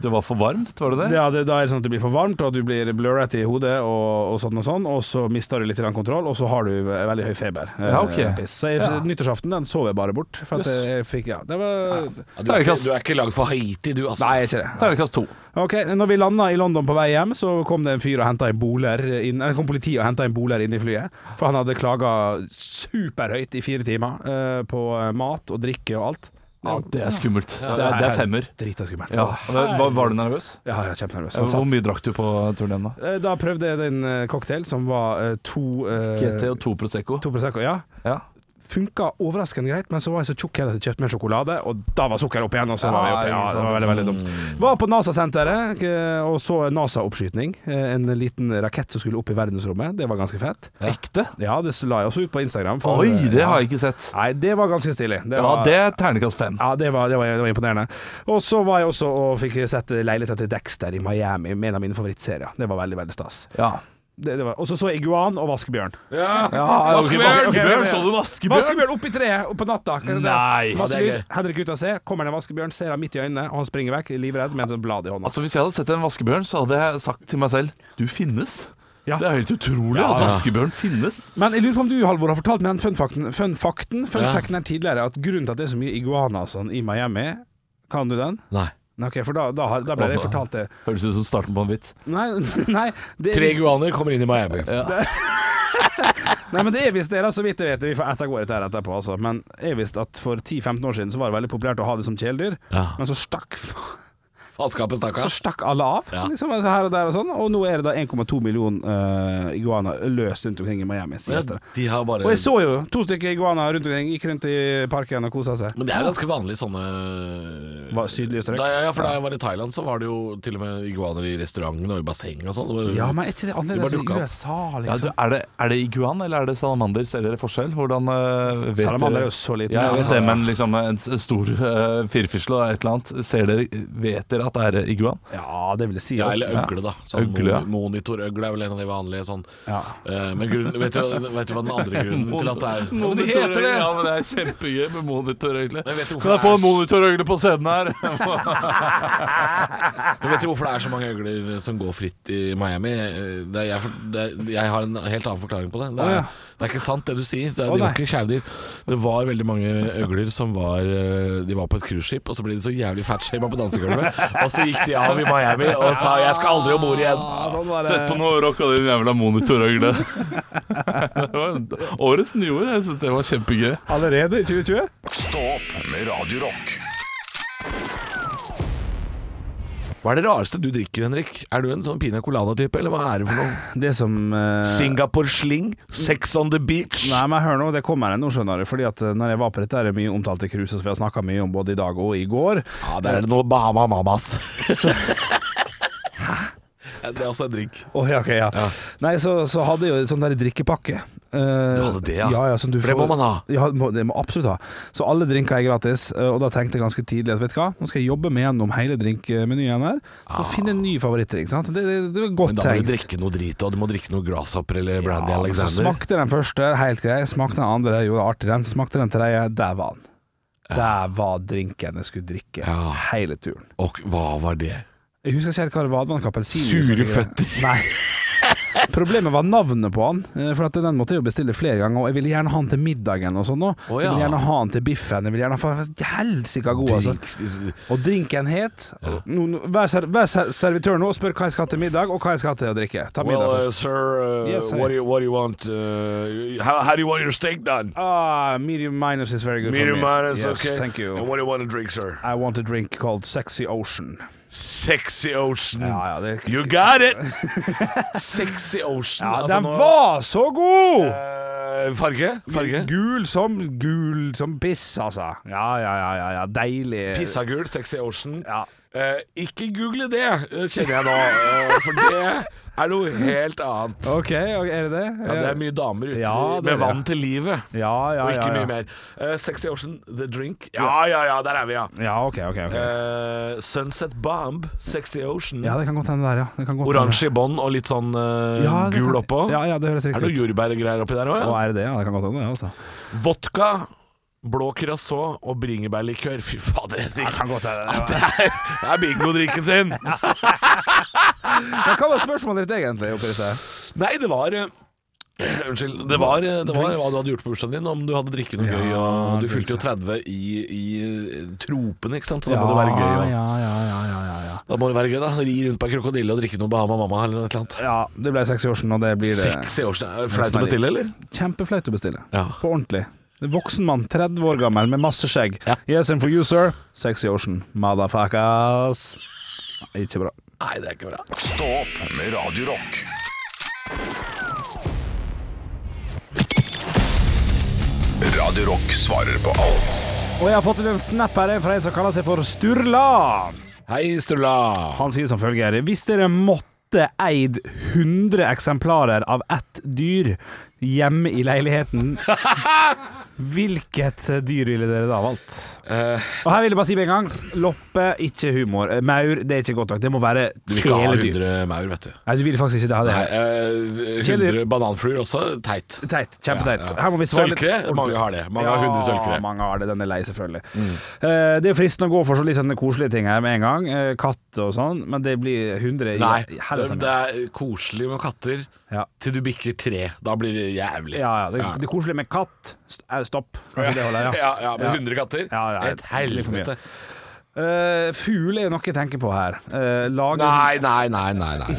det var for varmt, var det det? ja, det, da er det sånn at det blir for varmt, og du blir blurret i hodet og, og sånn og sånn, og så mister du litt grann kontroll, og så har du ve- veldig høy feber. Eh, Ja, ok. piss. Så jeg, Ja. nyttårsaften den sov jeg bare bort. For at Jøss. jeg fikk, ja, det var Ja, du, er ikke, du er ikke lagd for Haiti, du, altså. Nei, jeg er ikke det. Ternekast to. Ok, Når vi landa i London på vei hjem, så kom det en fyr og hentet en boler inn, eller kom politiet og henta en boler inn i flyet. For han hadde klaga superhøyt i fire timer eh, på mat og drikke og alt. Ja, det er skummelt. Det er, det er femmer. Drita skummelt. Ja. Eh, Var, var du nervøs? Ja, jeg er kjempenervøs. Han Hvor satt. mye drakk du på turen igjen, da? Eh, Da prøvde jeg den eh, cocktail som var eh, to eh, GT og to Prosecco. To prosecco, ja. Ja. Funka overraskende greit, men så var jeg så tjukk at jeg kjøpte mer sjokolade, og da var sukkeret opp igjen. Og så var jeg Ja, oppe. Ja, det var ikke sant. Mm. veldig, veldig dumt. Var på NASA-senteret eh, og så en NASA-oppskytning. Eh, En liten rakett som skulle opp i verdensrommet. Det var ganske fett. Ekte? Ja, det la jeg også ut på Instagram. for- eh, Oi, det ja. har jeg ikke sett. Nei, det var ganske stilig. Det Ja, var, det er ternekast fem. ja, det var, det var, det var imponerende. Og så var jeg også og fikk sett leiligheten til Dexter i Miami, med en av mine favorittserier. Det var veldig, veldig stas. Ja. Det, det var- Og så så jeg iguan og vaskebjørn. Ja. Vaskebjørn! Vaskebjørn! Så du vaskebjørn? Vaskebjørn oppi treet og på natta. Hva er det der? Nei. Masse Ja, det er lyd. gøy. Henrik ut og se. Kommer det en vaskebjørn, ser han midt i øynene, og han springer vekk, livredd, med et blad i hånda. Altså, Hvis jeg hadde sett en vaskebjørn, så hadde jeg sagt til meg selv du finnes. Ja. Det er helt utrolig Ja, at ja. vaskebjørn finnes. Men jeg lurer på om du, Halvor, har fortalt meg den fun-fakten fun fakten, fun Ja. facten her tidligere, at grunnen til at det er så mye iguana og sånn i Miami Kan du den? Nei. Nei, ok, for da, da, har- da ble det fortalt det. Høres ut som starten på en vits. Nei, nei, det er Tre visst, guaner kommer inn i Miami. nei men det er visst det, da, så vidt jeg vet. Vi får ettergå dette her etterpå, altså. Men jeg visste at for 10-15 år siden så var det veldig populært å ha det som kjæledyr, Ja. men så stakk Faenskapet, Så stakkars. stakk alle av, Ja. liksom, altså her og der og sånn. Og nå er det da 1,2 millioner uh, iguaner løst rundt omkring i Miami. sies det. De har bare Og jeg så jo to stykker iguaner rundt omkring, gikk rundt i parken og kosa seg. Men det er ganske vanlig sånne Hva, sydlige strøk? Da, ja, ja, for da jeg var i Thailand, så var det jo til og med iguaner i restauranten og i bassenget og sånn. Det var- Ja, men er ikke det De annerledes i bare dukket opp. USA, Ja, du, liksom? er, det, er det iguan eller er det salamander? Ser dere forskjell? Hvordan eh, vet Salamander er jo dere- så liten. Altså, Ja, jeg Ja, vet det, men liksom en s- stor uh, firfisle og et eller annet. Ser dere, vet dere at det er iguan? Ja, det vil jeg si. Ja, Ja, eller øgle, da. Sånn Øgle, ja. mon- Monitorøgle er vel en av de vanlige sånn. Ja. Eh, Men grunnen, vet, du, vet du hva den andre grunnen til at det er Ja, Men det Monitorøgle, heter det! Ja, men det er kjempegøy med monitorøgle. Men vet du hvorfor Kan jeg det få er- en monitorøgle på scenen her? Men vet du hvorfor det er så mange Eh, øgler som går fritt i Miami? Eh, Det er jeg, for- det er, jeg har en helt annen forklaring på det. Det er, Å, ja. Det er ikke sant det du sier. Det, Å, de var nei. ikke kjæledyr. Det var veldig mange øgler som var eh, De var på et cruiseskip, og så ble de så jævlig fatshama på dansegulvet. Og så gikk de av i Miami og sa 'jeg skal aldri om bord igjen'. sånn var Sett på noe rock av den jævla monitorøgle. Det var Årets nyord. Jeg syns det var kjempegøy. Allerede i 2020? Stå opp med Radio Rock. Hva er det rareste du drikker, Henrik? Er du en sånn pina colada-type, eller hva er det for noe? Det som eh, Singapore sling, sex on the beach. Nei, men hør nå, det kommer ennå, skjønner du. Fordi at eh, når jeg var på dette her mye omtalte cruiset som vi har snakka mye om både i dag og i går Ja, Ah, der er det noe Bahama Mamas. Ja, Det er også en drink. Åh, ja, ok, ja. Nei, så, så hadde jeg jo sånn der drikkepakke. Eh, Du hadde det, ja. ja, som du For det får- må man ha. Ja, det må- det må absolutt ha. Så alle drinker er gratis, eh, og da tenkte jeg ganske tidlig at vet du hva, nå skal jeg jobbe meg gjennom hele drinkmenyen her, og finne en ny favorittdrikk. sant? Det, det, det var godt Ah. Men da må tenkt. du drikke noe drit, og du må drikke noe Grasshopper eller Brandy Ja, men så Alexander. smakte den første, helt grei. Smakte den andre, jo det var artig den. Smakte den tredje, der var den. Der var drinken jeg skulle drikke Ja. hele turen. Og hva var det? Jeg husker ikke helt hva det var. Det var noe appelsinjuice Sure og noe greier. føtter. Nei. Problemet var navnet på han, eh, for at den måtte jeg jo bestille flere ganger. Og jeg ville gjerne ha den til middagen og sånn òg. Å, Jeg ja. ville gjerne ha den til biffen. Jeg ville gjerne ha Helsika god, altså. Drink. Og drinken het Nå- nå- Vær, ser, vær ser, servitør nå og spør hva jeg skal ha til middag, og hva jeg skal ha til å drikke. Ta middag Well, uh, først. sir, uh, Yes, I- what, do you, what do you want? Uh, how, how do you want your steak done? Ah, medium minus is very good Medium for me. minus, yes, okay. Thank you. And what do you want to drink, sir? I want a drink called Sexy Ocean. Sexy Ocean. Ja, ja, det You got it! Sexy Ocean. ja, altså Den nå- var så god! Eh, farge? Farge? Gul som gul som piss, altså. Ja, ja, ja, ja, ja. deilig. Pissagul, Sexy Ocean. Ja. Eh, ikke google det, eh, kjenner jeg nå, eh, for det er noe helt annet. Ok, og er det Eh, det? Ja, det er mye damer ute Ja, det er med det. vann til livet, ja, ja, og ja, ikke ja. mye mer. Eh, sexy Ocean, The Drink. Ja, ja, ja, der er vi, ja. Ja, ok, ok. ok Eh, Sunset Bomb, Sexy Ocean. Ja, det kan godt hende der, ja. Det kan godt Oransje i bånn og litt sånn eh, hende. Ja, det gul kan- oppå. Ja, ja, det høres Er det riktig noe ut. jordbærgreier oppi der òg? Å, Ja? er det det? Ja, det kan godt hende, det, altså. Vodka, blå curacao og bringebærlikør. Fy fader, Henrik. kan godt hende. Det er, det er bingodrikken sin! Men hva var spørsmålet ditt egentlig oppi dette? Nei, det var eh, Unnskyld. Det var, eh, det var Drinks. hva du hadde gjort på bursdagen din, om du hadde drikket noe Ja, gøy. Og du drinks, fylte jo ja. 30 i, i eh, tropen, ikke sant, så da må det være gøy. Og, ja, ja, ja, ja, ja, ja. Da må det være gøy, da. Ri rundt på en krokodille og drikke noe Bahama Mamma eller noe eller annet. Ja, det ble sexy Ocean, og det blir det. Sexy år siden. Er det Flaut å bestille, eller? Kjempeflaut å bestille. Ja. På ordentlig. En Voksen mann, 30 år gammel, med masse skjegg. Yes, and for you, sir. Sexy Ocean. Motherfuckers. Ikke bra. Nei, det er ikke bra. Stå opp med Radio Rock. Radio Rock svarer på alt. Og jeg har fått inn en snap her fra en som kaller seg for Sturla. Hei, Sturla. Han sier som følger Hvis dere måtte eid 100 eksemplarer av ett dyr hjemme i leiligheten Hvilket dyr ville dere da valgt? Eh. Og her vil jeg bare si med en gang Loppe, ikke humor. Eh, Maur, det er ikke godt nok. Det må være Du vil ikke ha kjæledyr. 100 maur, vet du. Nei, du vil faktisk ikke ha det. Nei, eh, 100 Kjæledyr. bananfluer også. Teit. Teit. Kjempeteit. Ja, ja. Her må vi svare litt Sølvkre? ordentlig. Mange har det. Mange har Mm. 100 sølvkre. Ja, mange har det. Den er lei, selvfølgelig. Eh, det er jo fristende å gå for så litt sånne koselige ting her med en gang. Eh, katt og sånn, men det blir 100 i- Nei, i det, helvete. det er koselig med katter Ja. til du bikker tre. Da blir det jævlig. Ja, ja. Det, det koselige med katt St- eh, Stopp. Kanskje det holder, ja. ja, ja, med 100 katter? Ja, ja, Et det blir for mye. helvete. Eh, fugl er jo noe jeg tenker på her. Eh, lage Nei, nei, nei, nei. nei, nei,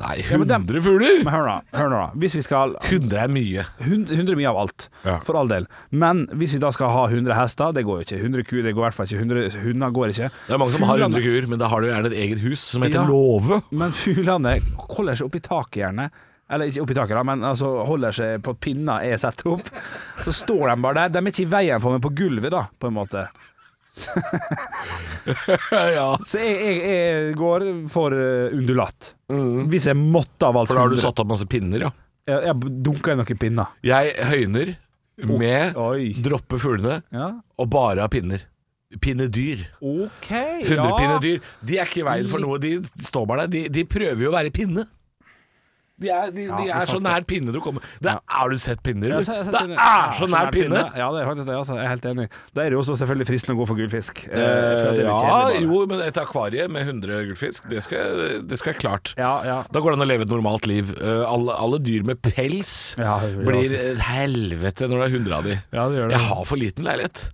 nei. Ja, men dem- 100 fugler! Men hør nå, hør nå da. Hvis vi skal 100 er mye. 100, 100 mye av alt, Ja. for all del. Men hvis vi da skal ha 100 hester, det går jo ikke. 100 kuer, det går i hvert fall ikke. 100 hunder går ikke. Det er mange som har Fuglene- 100 kuer, men da har du gjerne et eget hus som heter Ja. låve. Men fuglene holder seg oppi taket gjerne. Eller ikke oppi taket, da, men altså holder seg på pinna jeg setter opp. Så står de bare der. De er ikke i veien for meg på gulvet, da, på en måte. ja. Så jeg, jeg, jeg går for eh, undulat. Hvis jeg måtte ha valgt Mm. For da har du 100. satt opp masse pinner, ja. Jeg, jeg dunka i noen pinner. Jeg høyner Oh. med Oi. droppe fuglene Ja. og bare har pinner. Pinnedyr. OK. 100 pinnedyr. De er ikke i veien for noe, de står bare der. De, de prøver jo å være pinne. De er, de, de det er er så sant, nær pinne du kommer Der har du sett pinner, Jeg du! har sett- jeg har Det sett pinne. er så nær pinne! Ja, det er faktisk det. Altså. Jeg er helt enig. Da er det jo også selvfølgelig fristende å gå for gul fisk. eh, for at det er litt Ja, kjedelig bare. jo, men et akvarie med 100 gullfisk, det skal, jeg- det skal jeg klart. Ja, ja. Da går det an å leve et normalt liv. Eh, alle, alle dyr med pels Ja, det blir blir et helvete når det er 100 av de. Ja, det gjør det. Jeg har for liten leilighet.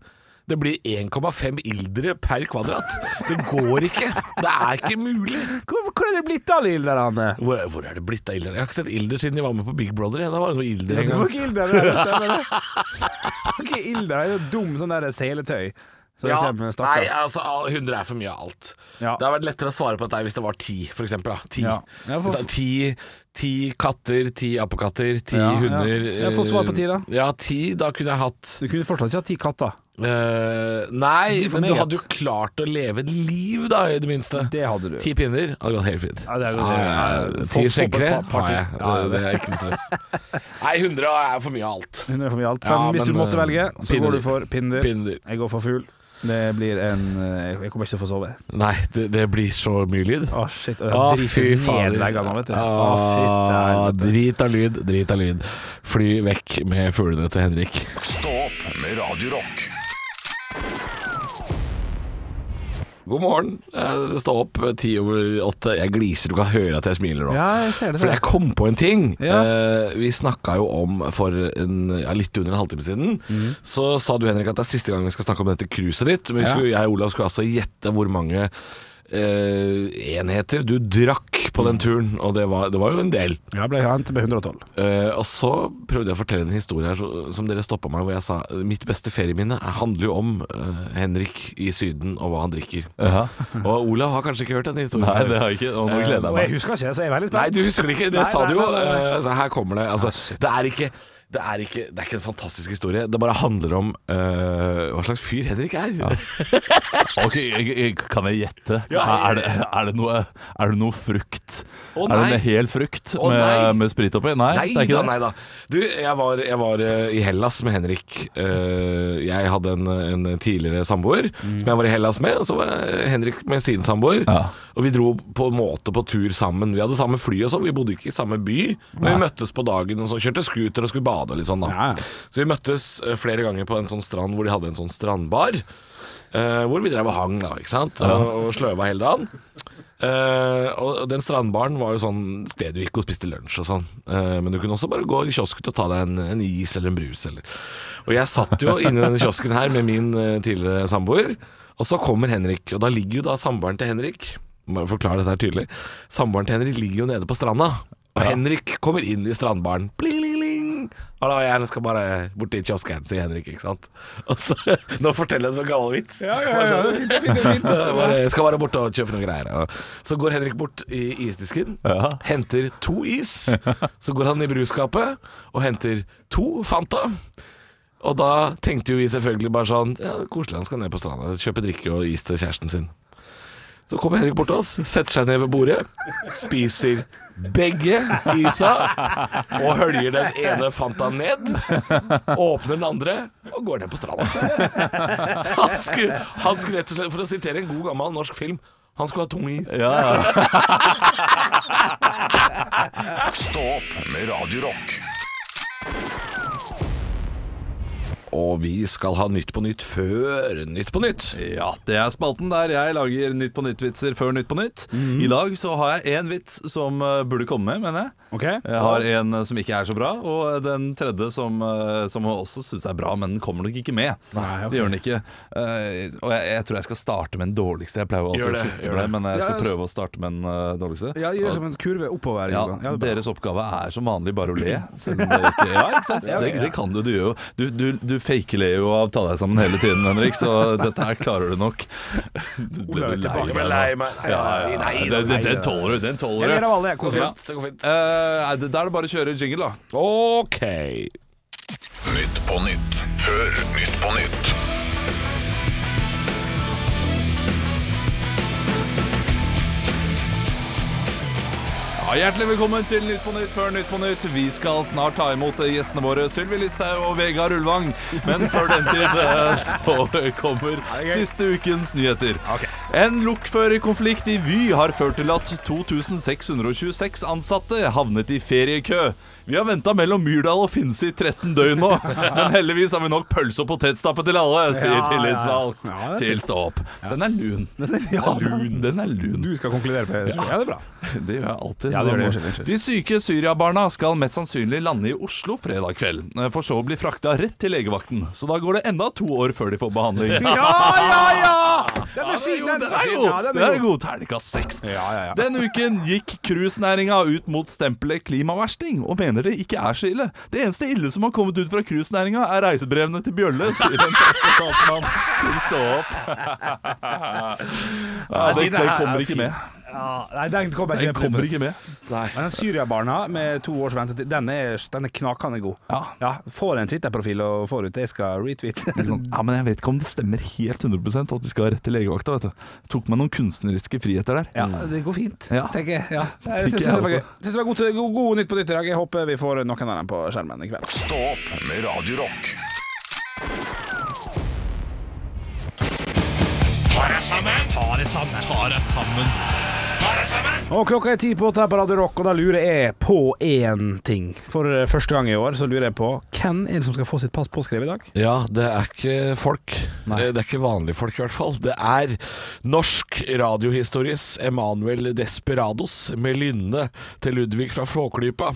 Det blir 1,5 ildre per kvadrat. Det går ikke. Det er ikke mulig. Hvor, hvor er det blitt av Lill der, Anne? Hvor, hvor er det blitt av ilder? Jeg har ikke sett ilder siden jeg var med på Big Brother. jeg. Da var det noe ilder en Du får gang. ikke ild der, det stemmer det. Ikke ild der, det er jo dum sånn der seletøy. Så det Ja, kommer med stakkar. nei, altså al- 100 er for mye av alt. Ja. Det hadde vært lettere å svare på dette her hvis det var 10, for eksempel. Da. 10. Ja. Ja, for- Hvis det er 10, 10 katter, 10 apekatter, 10 Ja, ja. hunder Ja, få svar på 10 da. eh, Ja, 10. Da kunne jeg hatt Du kunne fortsatt ikke hatt ti katter. eh, Nei, for men du meget. hadde jo klart å leve et liv, da, i det minste. Det hadde du. Ti pinner hadde gått helt fint. Ja, det er jo det. Få- Ti få på et skjeggkre par- par har jeg. Det, til. Ja, det er det er ikke noe stress. Nei, 100 er for mye av alt. Hun er for mye alt. Men Ja, men, hvis du måtte eh, velge, så pinnedyr. går du for pinnedyr. Pinnedyr. Jeg går for fugl. Det blir en eh, Jeg kommer ikke til å få sove. Nei, det, det blir så mye lyd. Å, shit. Og Å, jeg fy driter fader. ned leggene, vet du. Å, fytte Ah, helvete. drit av lyd, drit av lyd. Fly vekk med fuglene til Henrik. Stå opp med Radio Rock. God morgen. Eh, Stå opp eh, ti over åtte. Jeg gliser, du kan høre at jeg smiler nå. Ja, jeg ser det. For jeg kom på en ting. Ja. Eh, vi snakka jo om for en, ja, litt under en halvtime siden. Så sa du Henrik at det er siste gang vi skal snakke om dette cruiset ditt. Men vi Mhm. Ja. skulle, jeg og Olav skulle altså gjette hvor mange eh, enheter du drakk på Mm. den turen. Og det var, det var jo en del. Ja, ble hentet med 112. Eh, og så prøvde jeg å fortelle en historie her så- som dere stoppa meg, hvor jeg sa mitt beste ferieminne handler jo om eh, Henrik i Syden og hva han drikker. Ja. Og Olav har kanskje ikke hørt denne historien? Nei, før. det har jeg ikke, og nå gleder Og jeg jeg meg. husker ikke, så jeg er veldig Nei, spent. du husker det ikke. Det Nei, sa nei, du jo. nei, nei, Eh, altså, her kommer det. Ah, Altså, det, er ikke, det, er ikke, det er ikke en fantastisk historie. Det bare handler om eh, hva slags fyr Henrik er. Ok, jeg, jeg, Kan jeg gjette? Ja. Er, det, er, det noe, er det noe frukt? Å, er det nei. en hel frukt Å, nei. med, med sprit oppi? Nei, Nei, det er ikke da, det. nei da. Du, jeg var, jeg var eh, i Hellas med Henrik. Eh, Jeg hadde en, en tidligere samboer som jeg var i Hellas med, og så var Henrik med sin samboer. Mm. Ja. Og vi dro på en måte på tur sammen. Vi hadde samme fly og sånn, vi bodde ikke i samme by, men vi møttes på dagen og så kjørte scooter og skulle bade og litt sånn, da. Ja, ja. Så vi møttes eh, flere ganger på en sånn strand hvor de hadde en sånn strandbar. eh, hvor vi drev og hang, da, ikke sant? Og, og sløva hele dagen. Eh, og den strandbaren var jo sånn sted du gikk og spiste lunsj og sånn. Eh, men du kunne også bare gå i kiosken og ta deg en, en is eller en brus eller Og jeg satt jo inni denne kiosken her med min eh, tidligere samboer, og så kommer Henrik. Og da ligger jo da samboeren til Henrik Bare forklare dette her tydelig. Samboeren til Henrik ligger jo nede på stranda. Og Henrik kommer inn i strandbaren. Bling, bling, bling. Og da jeg skal bare bort til kiosken, sier Henrik, ikke sant. Og så, nå forteller jeg en sånn gammel vits. Ja, ja, ja, det er fint, det er fint, det er fint. Jeg bare, jeg skal bare bort og kjøpe noen greier. Og Så går Henrik bort i isdisken, Ja. henter to is. Så går han i brusskapet og henter to Fanta. Og da tenkte jo vi selvfølgelig bare sånn ja, Koselig, han skal ned på stranda, kjøpe drikke og is til kjæresten sin. Så kommer Henrik bort til oss, setter seg ned ved bordet, spiser begge isa og høljer den ene Fanta ned. Åpner den andre og går ned på stranda. Han skulle, han skulle rett og slett, for å sitere en god gammel norsk film, han skulle ha tung i. Ja, ja. Stå opp med Radio Rock. Og vi skal ha Nytt på nytt før Nytt på nytt. ja, det er spalten der jeg lager Nytt på nytt-vitser før Nytt på nytt. I dag så har jeg én vits som eh, burde komme med, mener jeg. Ok. Jeg har en eh, som ikke er så bra, og den tredje som, eh, som jeg også syns er bra, men den kommer nok ikke med. Nei, ok. Det gjør den ikke. Eh, Og jeg, jeg tror jeg skal starte med den dårligste. Jeg pleier jo alltid Gjør det, å slutte gjør med det, men jeg skal Ja, s- prøve å starte med den eh, dårligste. Ja, gjør som en kurve oppover. Ja, Johan. Ja, det er bra. deres oppgave er som vanlig bare å le. Siden det ikke, ja, ikke sant? Ja, Det, ja. det kan du. Du, gjør jo. du, du, du fakeler jo av å ta deg sammen hele tiden, Henrik, så dette her klarer du nok. Du ble Olav er jo tilbake. deg Jeg ble nå. lei meg. Nei, Ja, ja, nei, ja. nei, Den, den, nei. den tåler du. Den Jeg tåler ler du. av alle, jeg. Det Kos går meg. fint, det går fint. Eh, nei, det- da er det bare å kjøre jingle, da. Ok. Nytt på nytt før Nytt på nytt. Ja, Hjertelig velkommen til Nytt på Nytt før Nytt på Nytt. Vi skal snart ta imot eh, gjestene våre Sylvi Listhaug og Vegard Ulvang. Men før den tid eh, så kommer siste ukens nyheter. En lokførerkonflikt i Vy har ført til at 2626 ansatte havnet i feriekø. Vi har venta mellom Myrdal og Finse i 13 døgn nå, men heldigvis har vi nok pølse og potetstappe til alle, sier Ja, ja, ja. tillitsvalgt Ja, det er til Stå opp. Den er lun. lun. Den er lun. Du skal konkludere på det. Ja, det er bra. Det gjør jeg alltid. Ja, det gjør det. Unnskyld, unnskyld. De syke Syria-barna skal mest sannsynlig lande i Oslo fredag kveld, for så å bli frakta rett til legevakten. Så da går det enda to år før de får behandling. Ja, ja, ja! Den er fin, Jo, den. det er fin. jo Ja, den det er er god. god terningkast seks. Ja, ja, ja. Den uken gikk cruisenæringa ut mot stempelet klimaversting, og mener det ikke er så ille. Det eneste ille som har kommet ut fra cruisenæringa, er reisebrevene til Bjølle, sier en første talsmann til Stå opp. Ja, Nei, den, det den her er kommer fin. ikke med. Ja, Nei, den kommer Den ikke med. kommer ikke med. Men den Syria-barna med to års ventetid, den er, den er knakende god. Ja. Får en Twitter-profil og får ut. Jeg skal retweete. Ikke sant? sånn, Ja, men jeg vet ikke om det stemmer helt 100 at de skal rett til legevakta. vet du. Jeg tok meg noen kunstneriske friheter der. Ja, det går fint, Mm. Ja. tenker jeg. Ja. Jeg Tenker syns det jeg var også. gøy. Synes det var god, god, god nytt på nytt i dag. Jeg håper vi får noen av dem på skjermen i kveld. Stå opp med Radio Rock. Og klokka er ti på åtte her på Radio Rock, og da lurer jeg på én ting. For første gang i år så lurer jeg på hvem er det som skal få sitt pass påskrevet i dag? Ja, det er ikke folk. Nei. Eh, Det er ikke vanlige folk, i hvert fall. Det er norsk radiohistories Emanuel Desperados med lynne til Ludvig fra Flåklypa.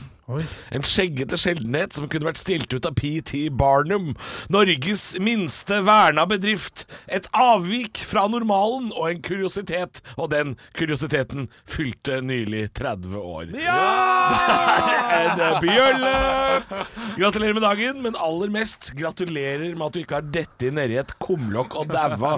En skjeggete sjeldenhet som kunne vært stilt ut av P.T. Barnum. Norges minste verna bedrift. Et avvik fra normalen og en kuriositet. Og den kuriositeten fylte nylig 30 år. En bjølle! Gratulerer med dagen, men aller mest gratulerer med at du ikke har dette nedi et kumlokk og daua,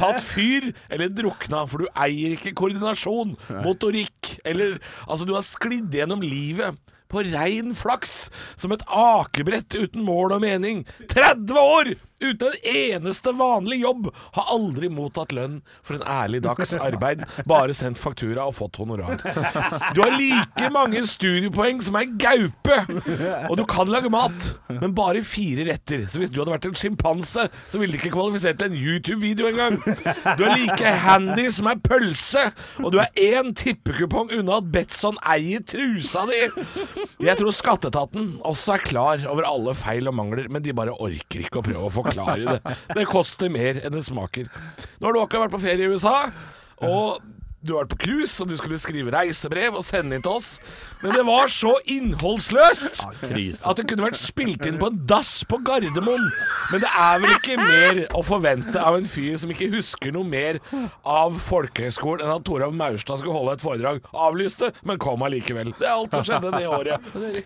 tatt fyr eller drukna, for du eier ikke koordinasjon, motorikk eller Altså, du har sklidd gjennom livet. På rein flaks, som et akebrett uten mål og mening. 30 år uten en eneste vanlig jobb! Har aldri mottatt lønn for en ærlig dags arbeid, bare sendt faktura og fått honorar. Du har like mange studiepoeng som ei gaupe, og du kan lage mat, men bare fire retter. Så hvis du hadde vært en sjimpanse, så ville du ikke kvalifisert til en YouTube-video engang. Du er like handy som ei pølse, og du er én tippekupong unna at Betson eier trusa di. Jeg tror skatteetaten også er klar over alle feil og mangler, men de bare orker ikke å prøve å forklare det. Det koster mer enn det smaker. Nå har du akkurat vært på ferie i USA, og du har vært på cruise, og du skulle skrive reisebrev og sende inn til oss. Men det var så innholdsløst at det kunne vært spilt inn på en dass på Gardermoen. Men det er vel ikke mer å forvente av en fyr som ikke husker noe mer av folkehøgskolen enn at Torhaug Maurstad skulle holde et foredrag. Avlyste, men kom allikevel. Det er alt som skjedde det året.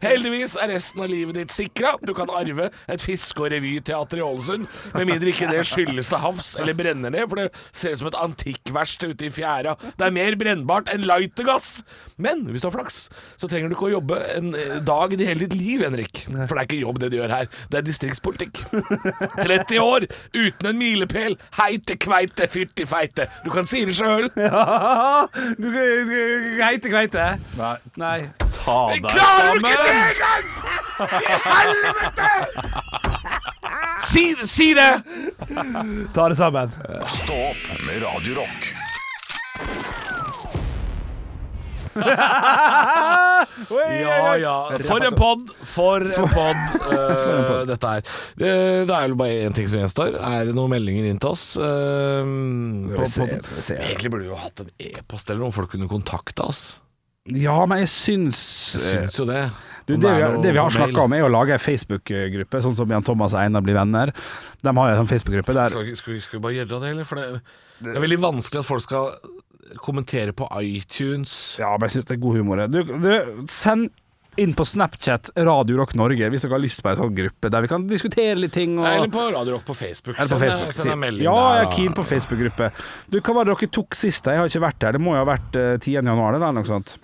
Heldigvis er resten av livet ditt sikra. Du kan arve et fiske- og revyteater i Ålesund, med mindre ikke det skyldes til havs eller brenner ned, for det ser ut som et antikkverksted ute i fjæra. Det er mer brennbart enn lightergass. Men hvis du har flaks, så trenger du ikke å jobbe en eh, dag i hele ditt liv, Henrik. For det er ikke jobb det du gjør her, det er distriktspolitikk. 30 år uten en milepæl. Heite kveite, fyrti feite. Du kan si det sjøl. Du heite kveite. Nei. Nei. Ta deg Klarer du sammen! ikke det engang?! I helvete! Si, si det! Ta det sammen. Stå opp med Radio Rock. Ja, ja. For en pod, for en pod eh, dette er. Eh, Det er vel bare én ting som gjenstår. Er det noen meldinger inn til oss? eh, på se, podden? skal vi se. Egentlig burde vi jo hatt en e-post eller noe, folk kunne kontakta oss. Ja, men jeg syns eh, Jeg syns jo det. Du, Om det, er vi, noe det vi har mail. snakka om, er å lage ei Facebook-gruppe, sånn som Jan Thomas og Einar blir venner. De har jo en sånn Facebook-gruppe der Skal, vi- skal, vi- skal vi bare gjøre det, eller? For det, det er veldig vanskelig at folk skal kommentere på iTunes. Ja, men jeg syns det er god humor. Du, du, send inn på Snapchat Radio Rock Norge hvis dere har lyst på ei sånn gruppe der vi kan diskutere litt ting. Og, Nei, Eller på Radio Rock på Facebook. Eller på Send- Facebook. Send en melding ja, der. jeg er da. keen på Facebook-gruppe. Du, Hva var det dere tok sist? da? Jeg har ikke vært der. Det må jo ha vært eh, 10. januar eller noe sånt.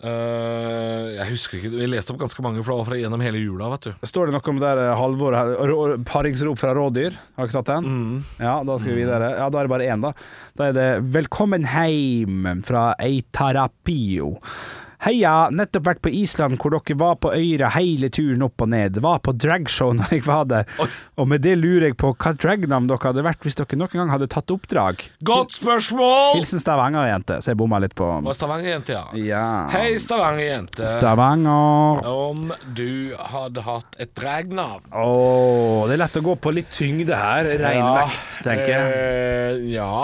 Eh, jeg husker ikke Vi leste opp ganske mange, for det var fra gjennom hele jula, vet du. Står det noe om det der eh, Halvor her, rå- rå- paringsrop fra rådyr? Har dere tatt den? Mm. Ja, da skal vi videre. Ja, da er det bare én, da. Da er det 'Velkommen heim' fra Ei Tarapio. Heia, nettopp vært på Island hvor dere var på øyra hele turen opp og ned. Var på dragshow når jeg var der. Og med det lurer jeg på hva dragnavn dere hadde vært hvis dere noen gang hadde tatt oppdrag. Godt spørsmål! Hilsen Stavanger-jente, så jeg bomma litt på Og Stavanger-jente, ja. Ja. Hei, Stavanger-jente. Stavanger. Om du hadde hatt et dragnavn Å, det er lett å gå på litt tyngde her. Reinvekt, tenker jeg. Eh, ja.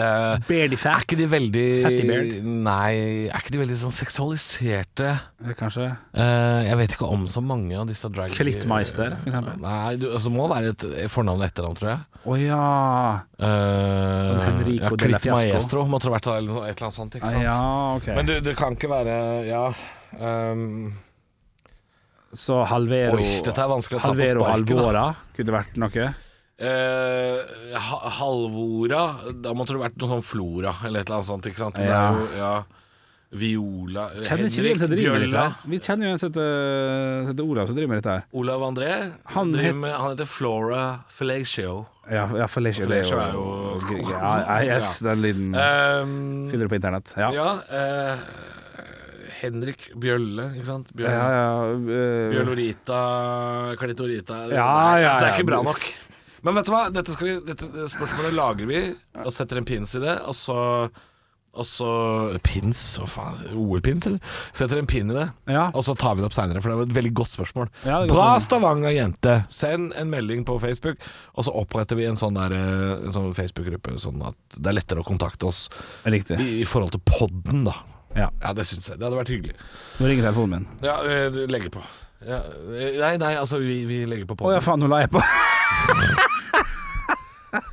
Eh, Beardy er ikke de veldig Fatty beard? Nei, er ikke de veldig sånn seksualiserte Kanskje. Eh, Jeg vet ikke om så mange av disse drag... Klittmeister, for eksempel. Nei, du, altså, det må være et fornavn og etternavn, tror jeg. Å ja. Uh, Sånn ja, Henrico de la Fiasco. Klittmaestro måtte det vært et eller annet- et eller annet sånt, ikke sant? Ah, ja ok. Men du, det kan ikke være Ja. ehm, så Halvero Oi, dette er vanskelig å ta på Halvero sparket, da. Halvora kunne vært noe. eh, ha- Halvora Da måtte det vært noe sånn Flora eller et eller annet sånt, ikke sant? Det Ja. er jo, ja. Viola Kjenner ikke vi en som driver med dette? her? Vi kjenner jo en som heter som heter Olav som driver med dette her. Olav André Han han, het- driver med, han heter Flora Fellatio. Ja, ja Felicia det Felicia er jo- Ja, yes, den lyden Um, Mm. finner du på internett. Ja. ja eh, Henrik Bjølle, ikke sant? Bjørn, Ja, ja, øh, Bjørnorita, Klitorita Ja, Nei, ja, altså, Det ja. er ikke bra nok. Men vet du hva, dette, skal vi, dette spørsmålet lagrer vi og setter en pins i det, og så og så Pins? Hva faen? OL-pins, eller? Setter en pin i det, Ja. og så tar vi det opp seinere, for det var et veldig godt spørsmål. Ja, det er godt Bra spørsmål. Stavanger-jente! Send en melding på Facebook, og så oppretter vi en sånn, der, eh, en sånn Facebook-gruppe, sånn at det er lettere å kontakte oss Riktig. i, i forhold til podden, da. Ja. Ja, det syns jeg. Det hadde vært hyggelig. Nå ringer telefonen min. Ja, eh, du legger på. Ja, eh, nei, nei, altså, vi, vi legger på Å ja, podden. faen, nå la jeg på.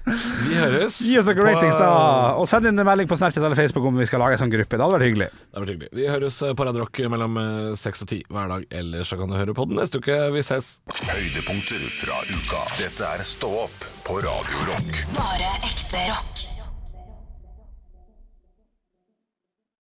Vi høres. Gi oss noen på- ratings, da. Og send inn en melding på Snapchat eller Facebook om vi skal lage en sånn gruppe. Det hadde vært hyggelig. Det blir hyggelig. Vi høres eh, på Radio Rock mellom eh, 6 og 10 hver dag. Ellers så kan du høre på den neste uke. Vi ses. Høydepunkter fra uka. Dette er Stå opp på Radio Rock. Bare ekte rock.